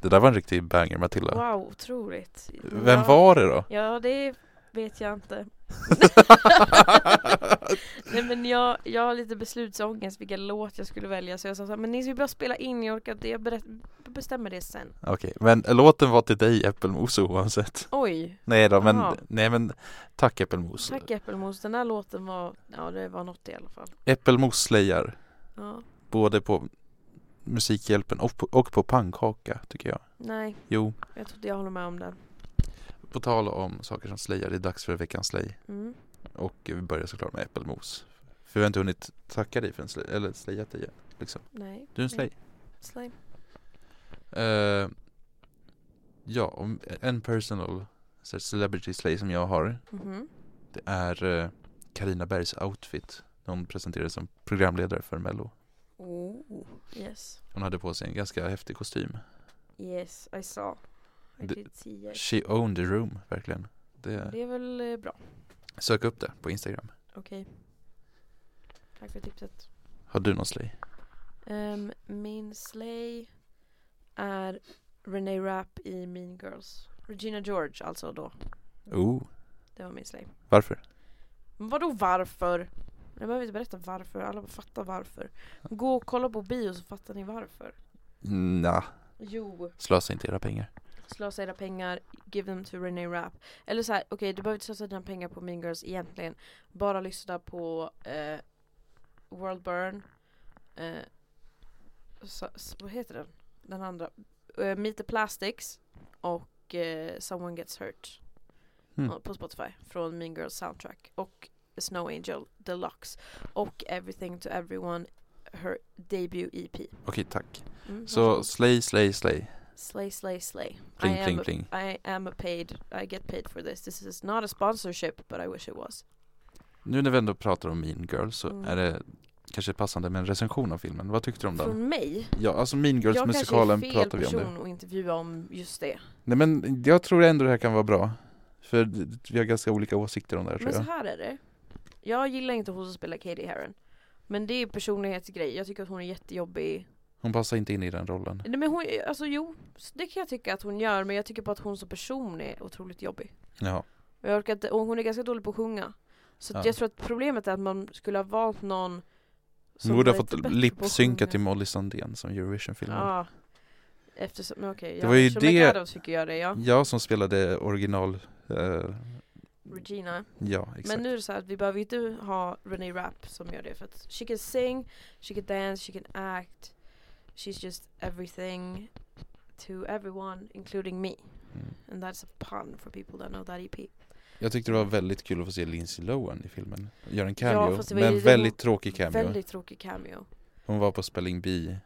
Det där var en riktig banger Matilda. Wow, otroligt. Vem ja, var det då? Ja, det vet jag inte. Nej men jag, jag har lite beslutsångest vilka låt jag skulle välja så jag sa såhär, men ni ska ju bara spela in, jag orkar inte, jag berätt, bestämmer det sen. Okej, men eh, låten var till dig Äppelmos oavsett. Oj, Nej då, men, Jaha. nej, men tack Äppelmos. tack Äppelmos, den här låten var, ja det var något i alla fall. Äppelmos slöjar, Ja, både på Musikhjälpen och på, och på pannkaka tycker jag. nej, Jo, jag tror inte jag håller med om den. på tal om saker som slöjar, det är dags för veckans slöj. Mm. Och vi börjar såklart med Äppelmos. För vi har inte hunnit tacka dig för en slöj, eller slöjat dig liksom. Nej, Du är en slöj. slime. Eh, ja, om en personal så här celebrity slay som jag har Mhm. Det är eh, Carina Bergs outfit när hon presenterades som programledare för Mello Oh, yes. Hon hade på sig en ganska häftig kostym Yes, I saw. I Det- did see it. She owned the room, verkligen det, Det är väl eh, bra. Sök upp det på Instagram Okej. Tack för tipset. Har du någon slay? Ehm, min slay är Renee Rapp i Mean Girls. Regina George alltså då. Oh, Det var min slay. varför? Men vadå varför? Jag behöver inte berätta varför, alla fattar varför. Gå och kolla på bio så fattar ni varför. Nja, Jo, slösa inte era pengar slösa era pengar, give them to Renee Rapp. Eller så här, okej du behöver inte slösa dina pengar på Mean Girls egentligen. Bara lyssna på eh, World Burn. Eh, så, så, vad heter den? Den andra. Eh, Meet the Plastics och eh, Someone Gets Hurt. Hmm. Ja, På Spotify från Mean Girls soundtrack. Och Snow Angel Deluxe. Och Everything to Everyone, her debut EP. Okej, tack Mm, Så varsågod. slay, slay, slay Slay, slay, slay. I Pling, am pling, a- pling I am a paid, I get paid for this. This is not a sponsorship, but I wish it was. Nu när vi ändå pratar om Mean Girls så Mm. är det kanske passande med en recension av filmen Vad tyckte du om den? Från mig? Ja, alltså Mean jag Girls-musikalen kanske är fel pratar vi om nu person att intervjua om just det. Nej men jag tror ändå det här kan vara bra. För d- vi har ganska olika åsikter om det här tror Men så jag. här är det. Jag gillar inte hon som spelar Katie Heron. Men det är personlighetsgrej. Jag tycker att hon är jättejobbig. Hon passar inte in i den rollen. Nej men hon, alltså jo, det kan jag tycka att hon gör. Men jag tycker bara att hon som person är otroligt jobbig. Ja. Och jag orkar inte, och hon är ganska dålig på att sjunga. Så att Ja. jag tror att problemet är att man skulle ha valt någon Hon borde ha var lite fått bättre på att lipsynka sjunga. till Molly Sandén som Eurovision-filmen. Ja. Ja. Eftersom, men okej. var ju det- Mm. Adams fick göra det ja. Jag som spelade original, eh, Regina. ja exakt. Men nu är det så här att vi behöver ju inte ha Renee Rapp som gör det för att she can sing, she can dance, she can act. She's just everything to everyone including me. Mm. And that's a pun for people that know that E EP. Jag tyckte det var väldigt kul att få se Lindsay Lohan i filmen. Göra en Ja, cameo, fast det var ju- men det väldigt var tråkig cameo. Väldigt tråkig cameo. Hon var på Spelling Bee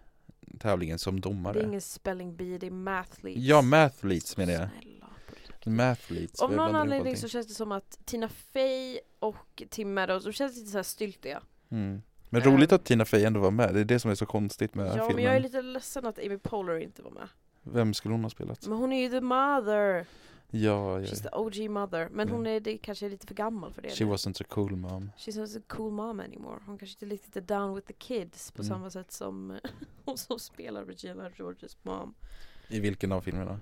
tävlingen som Det är domare. ingen spelling bee, det är mathletes. Ja, Mathletes menar jag. Snälla, på riktigt. Mathletes. Av jag någon blandar ihop anledning så allting. känns det som att Tina Fey och Tim Meadows, de känns lite så här styltiga. Mm. Men Ehm. roligt att Tina Fey ändå var med. Det är det som är så konstigt med ja, filmen. men jag är lite ledsen att Amy Poehler inte var med. Vem skulle hon ha spelat? Men hon är ju the mother, Ja, ja. she's the OG mother. Men Ja. hon är det kanske är lite för gammal för det. She nu. wasn't a cool mom. She's not a cool mom anymore. Hon kanske inte riktigt är down with the kids på Mm. samma sätt som eh, hon som spelar Regina Georges mom. I vilken av filmerna?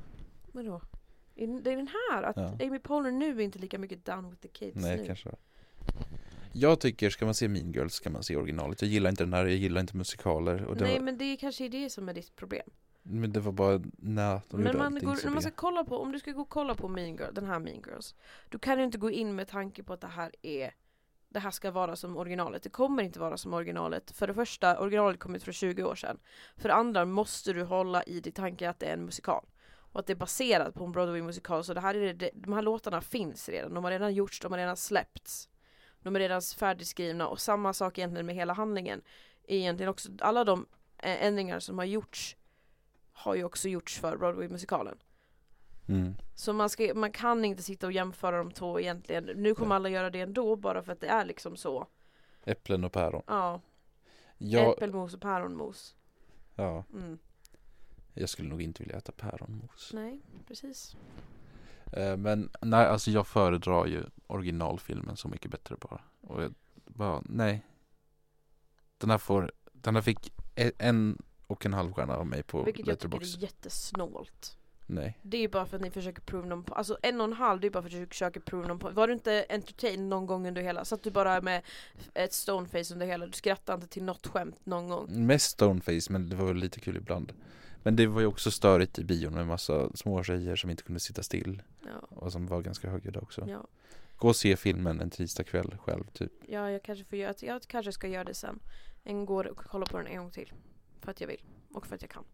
Men då? i- Det är den här, att Ja. Amy Poehler nu är inte lika mycket down with the kids Nej, nu. kanske Jag tycker, ska man se Mean Girls ska man se originalet. Jag gillar inte den här, jag gillar inte musikaler. Och det Nej var, men det är kanske är det som är ditt problem. men... det var bara, nej, de Men gjorde man allting går, så när man B. ska kolla på, om du ska gå och kolla på mean Girl, den här Mean Girls Då kan du inte gå in med tanke på att det här är Det här ska vara som originalet, det kommer inte vara som originalet För det första, originalet kom ut för 20 år sedan För det andra måste du hålla i din tanke att det är en musikal Och att det är baserat på en Broadway-musikal Så det här är det, de här låtarna finns redan, de har redan gjorts, de har redan släppts De är redan färdigskrivna och samma sak egentligen med hela handlingen är Egentligen också, alla de eh, ändringar som har gjorts har ju också gjorts för Broadway-musikalen Mm. så man, ska, man kan inte sitta och jämföra de två egentligen. Nu kommer Nej. alla göra det ändå bara för att det är liksom så. Äpplen och päron. Ja, Jag, äppelmos och päronmos. ja, Mm. jag skulle nog inte vilja äta päronmos. Nej, precis. Eh, men nej, alltså jag föredrar ju originalfilmen så mycket bättre bara. Och jag bara, nej. Den här får, den här fick e- en och och en halv stjärna av mig på Vilket jag tycker Letterboxd. är jättesnålt. Nej. Det är ju bara för att ni försöker prova någon på, alltså en och en halv det är bara för att du försöker prova någon på. Var du inte entertain någon gång under hela, satt du bara med ett stoneface under hela, du skrattade inte till något skämt någon gång. Mest stoneface men det var väl lite kul ibland. Men det var ju också störigt i bion med massa små tjejer som inte kunde sitta still Ja, och som var ganska högljudda också. ja, Gå och se filmen en tisdag kväll själv typ. ja jag kanske får göra, jag kanske ska göra det sen. En går och kollar på den en gång till. För att jag vill. Och för att jag kan.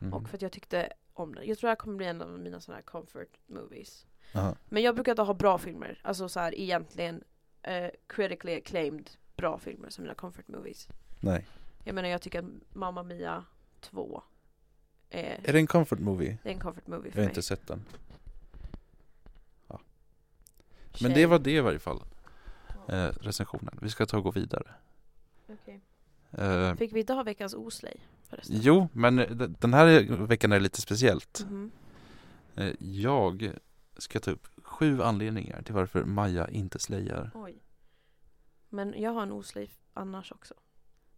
Mm. Och för att jag tyckte om den. Jag tror det här kommer bli en av mina sådana här comfort movies. Aha. Men jag brukar inte ha bra filmer, alltså så här egentligen eh, critically acclaimed bra filmer som mina comfort movies. Nej. Jag menar jag tycker att Mamma Mia 2 är, Är det en comfort movie? det är en comfort movie för Jag har mig. Eh. inte sett den. Men Tjej. det var det i varje fall. Eh, recensionen. Vi ska ta och gå vidare. Okej. Eh, Fick vi inte ha veckans oslej förresten? jo, men eh, d- den här veckan är lite speciellt. Mhm. Eh, jag ska ta upp sju anledningar till varför Maja inte slejar. Oj. Men jag har en oslej annars också.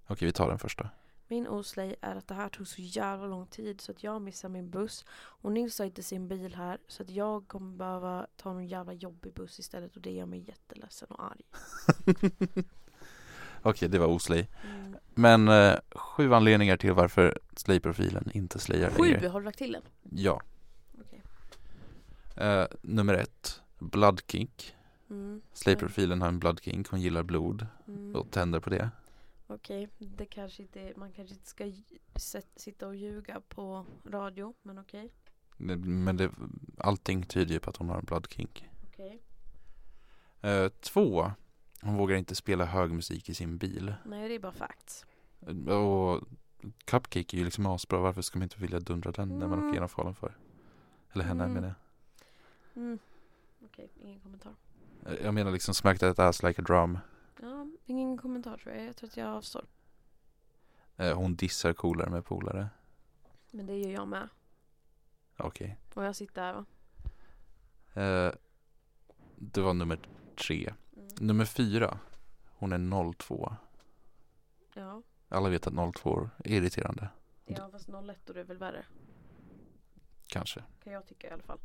Okej, vi tar den första. Min oslej är att det här tog så jävla lång tid så att jag missar min buss. Och Nils har inte sin bil här så att jag kommer behöva ta någon jävla jobbig buss istället och det gör mig jätteledsen och arg. Okej, det var oslej. Mm. Men eh, sju anledningar till varför slejprofilen inte slejar Sju, längre. har du lagt till en? Ja. Okej. Eh, nummer ett, bloodkink. Mm. Slejprofilen har en bloodkink, hon gillar blod Mm. och tänder på det. Okej, det kanske inte, man kanske inte ska lj- sätt- sitta och ljuga på radio, men okej. Men det, allting tyder ju på att hon har en bloodkink. Okej. Eh, två, hon vågar inte spela hög musik i sin bil. Nej, det är bara facts. Eh, Och Cupcake är ju liksom asbra, varför ska man inte vilja dundra den när man Mm. åker genom Falun för? Eller henne Mm. menar jag. Mm. Okej, ingen kommentar. Eh, Jag menar liksom smack that ass like a drum. Ja, ingen kommentar tror jag. Jag tror att jag avstår. Eh, hon dissar coolare med polare. Men det gör jag med. Okej. Och jag sitter här va? Eh, det var nummer tre. Mm. Nummer fyra, hon är 02. Ja. Alla vet att 02 är irriterande, Ja fast 01 och det är väl värre. kanske. Kan jag tycka i alla fall.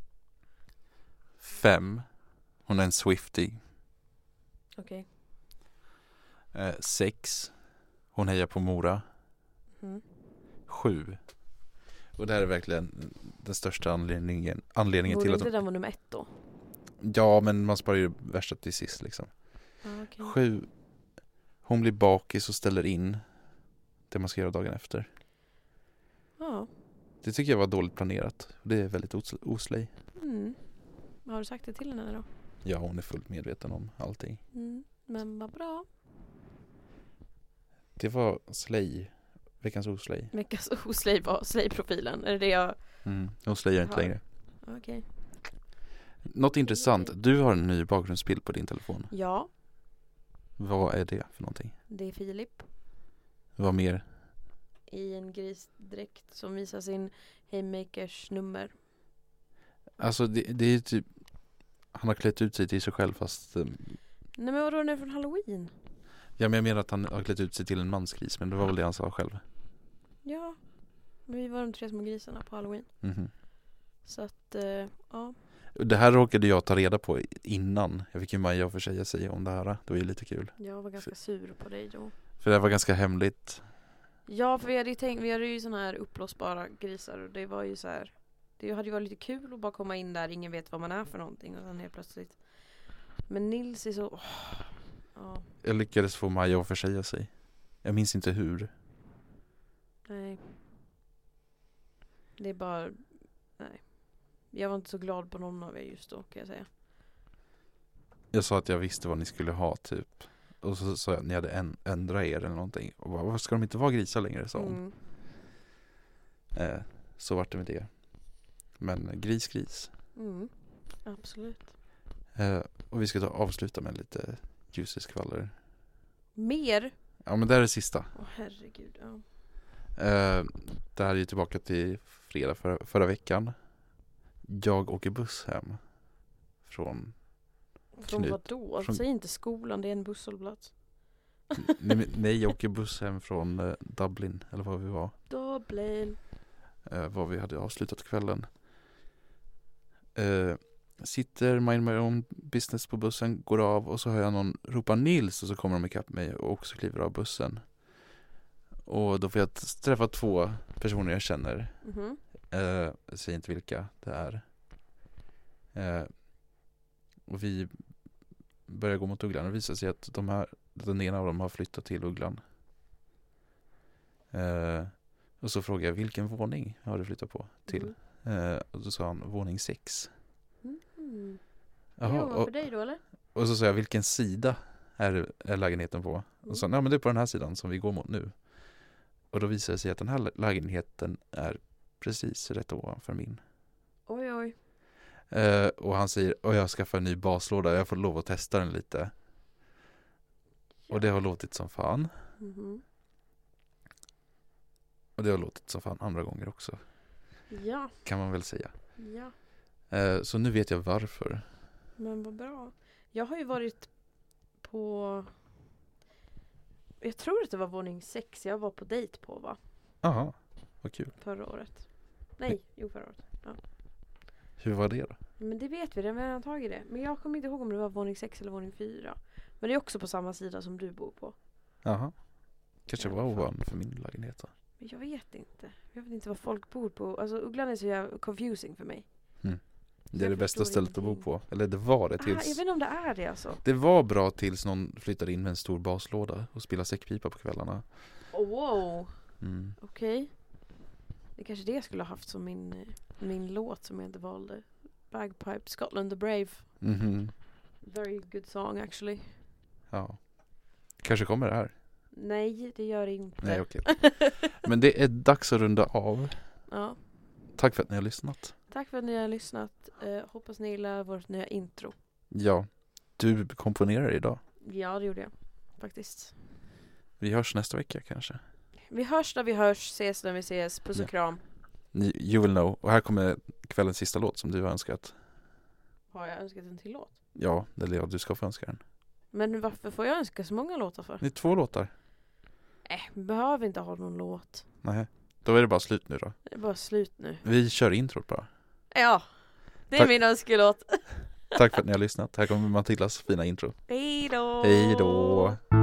Fem, hon är en Swiftie. Okej. Eh, sex. Hon hejar på Mora. Mm. Sju. Och det här är verkligen den största anledningen, anledningen till Borde att... inte den vara nummer ett då? Ja, men man sparar ju det värsta till sist liksom. Ja, okej. Sju. Hon blir bakis och ställer in det man ska göra dagen efter. Ja. Det tycker jag var dåligt planerat. Det är väldigt os- oslej. Mm. Har du sagt det till henne då? Ja, hon är fullt medveten om allting. Mm. Men vad bra. Det var slej. Veckans oslej. Veckans oslej var slejprofilen. Är det det jag... Mm. Hon slejar inte Jaha. längre. Okej. Något intressant. Du har en ny bakgrundsbild på din telefon. Ja. Vad är det för någonting? Det är Filip. Vad mer? I en grisdräkt som visar sin Haymakers nummer. Alltså det, det är ju typ Han har klätt ut sig till sig själv fast eh, Nej men vadå den är från halloween? Ja men jag menar att han har klätt ut sig till en mansgris Men det var väl det han sa själv Ja. Men vi var de tre små grisarna på halloween. Mhm. Så att, eh, ja. Och Det här råkade jag ta reda på innan Jag fick ju Maja att försäga sig om det här Det var ju lite kul Jag var ganska sur på dig då. För det här var ganska hemligt Ja, för vi hade ju tänkt, vi hade ju sådana här uppblåsbara grisar och det var ju så här. Det hade ju varit lite kul att bara komma in där, ingen vet vad man är för någonting och sen helt plötsligt. Men Nils är så, åh. ja, Jag lyckades få Maja att försäga sig Jag minns inte hur nej. Det är bara, nej. Jag var inte så glad på någon av er just då kan jag säga. Jag sa att jag visste vad ni skulle ha typ Och så sa jag att ni hade en, ändrat er eller någonting Och bara, varför ska de inte vara grisar längre sa hon Mm. eh, Så vart det med det Men eh, gris gris Mm. Absolut. Eh, och vi ska ta avsluta med lite juicy skvaller. Mer? Ja men det här är det sista. Åh herregud, ja. Eh, det här är ju tillbaka till fredag förra, förra veckan. Jag åker buss hem. Från, Från Knut. vadå? Från- Säg inte skolan, det är en busshållplats. Nej, men- nej, jag åker buss hem från eh, Dublin, eller var vi var. Dublin. eh, Var vi hade avslutat kvällen. Eh, Sitter, mind my own business på bussen, går av och så hör jag någon ropa Nils och så kommer de ikapp mig och också kliver av bussen. Och då får jag t- träffa två personer jag känner. Mhm. Eh, jag säger inte vilka det är. Eh, och vi börjar gå mot Ugglan och det visar sig att de här, den ena av dem har flyttat till Ugglan. Eh, och så frågar jag vilken våning har du flyttat på till? Eh, och då sa han våning sex. Mm. Jaha, jo, och, för dig då eller? och så sa jag vilken sida är, är lägenheten på? Och så sa han, ja men det är på den här sidan som vi går mot nu. Och då visar det sig att den här lä- lägenheten är precis rätt ovanför min. Oj oj. Eh, och han säger, och jag skaffar en ny baslåda, jag får lov att testa den lite. Och det har låtit som fan. Mhm. Och det har låtit som fan andra gånger också, Ja, kan man väl säga. ja. Eh, så nu vet jag varför. Men vad bra. Jag har ju varit på... Jag tror att det var våning sex jag var på dejt på va? Jaha, vad kul. Förra året. Nej, jo förra året. Hur var det då? Men det vet vi, den har redan tagit det. Men jag kommer inte ihåg om det var våning sex eller våning fyra. Men det är också på samma sida som du bor på. Jaha. Kanske Ja, var fan. ovanför min lägenhet då. Men jag vet inte. Jag vet inte vad folk bor på. Alltså Ugglan är så jävla confusing för mig. Det är Jag det bästa förstår stället att bo ingenting. på. Eller det var det Ah, jag vet tills. inte om det är det alltså. Det var bra tills någon flyttade in med en stor baslåda och spelade säckpipa på kvällarna. Oh, wow, Mm. okej. Det är kanske det jag skulle ha haft som min, eh, min låt som jag inte valde. Bagpipe, Scotland the Brave. Mhm. Very good song actually. Ja. Kanske kommer det här. Nej, det gör det inte. Nej, okej. Men det är dags att runda av. ja. Tack för att ni har lyssnat. Tack för att ni har lyssnat. Eh, hoppas ni gillar vårt nya intro. Ja, du komponerar idag. Ja, det gjorde jag faktiskt. Vi hörs nästa vecka kanske. Vi hörs när vi hörs, ses när vi ses. Puss och Ja. kram. Ni, you will know. Och här kommer kvällens sista låt som du har önskat. Har jag önskat en till låt? Ja, eller ja, du ska få önska den. Men varför får jag önska så många låtar för? Det är två låtar. Nej, vi behöver inte ha någon låt. Nej, då är det bara slut nu då. Det är bara slut nu. Vi kör introt bara. Ja, det är Tack. min önskelåt. Tack för att ni har lyssnat. Här kommer Matildas fina intro. Hej då! Hej då!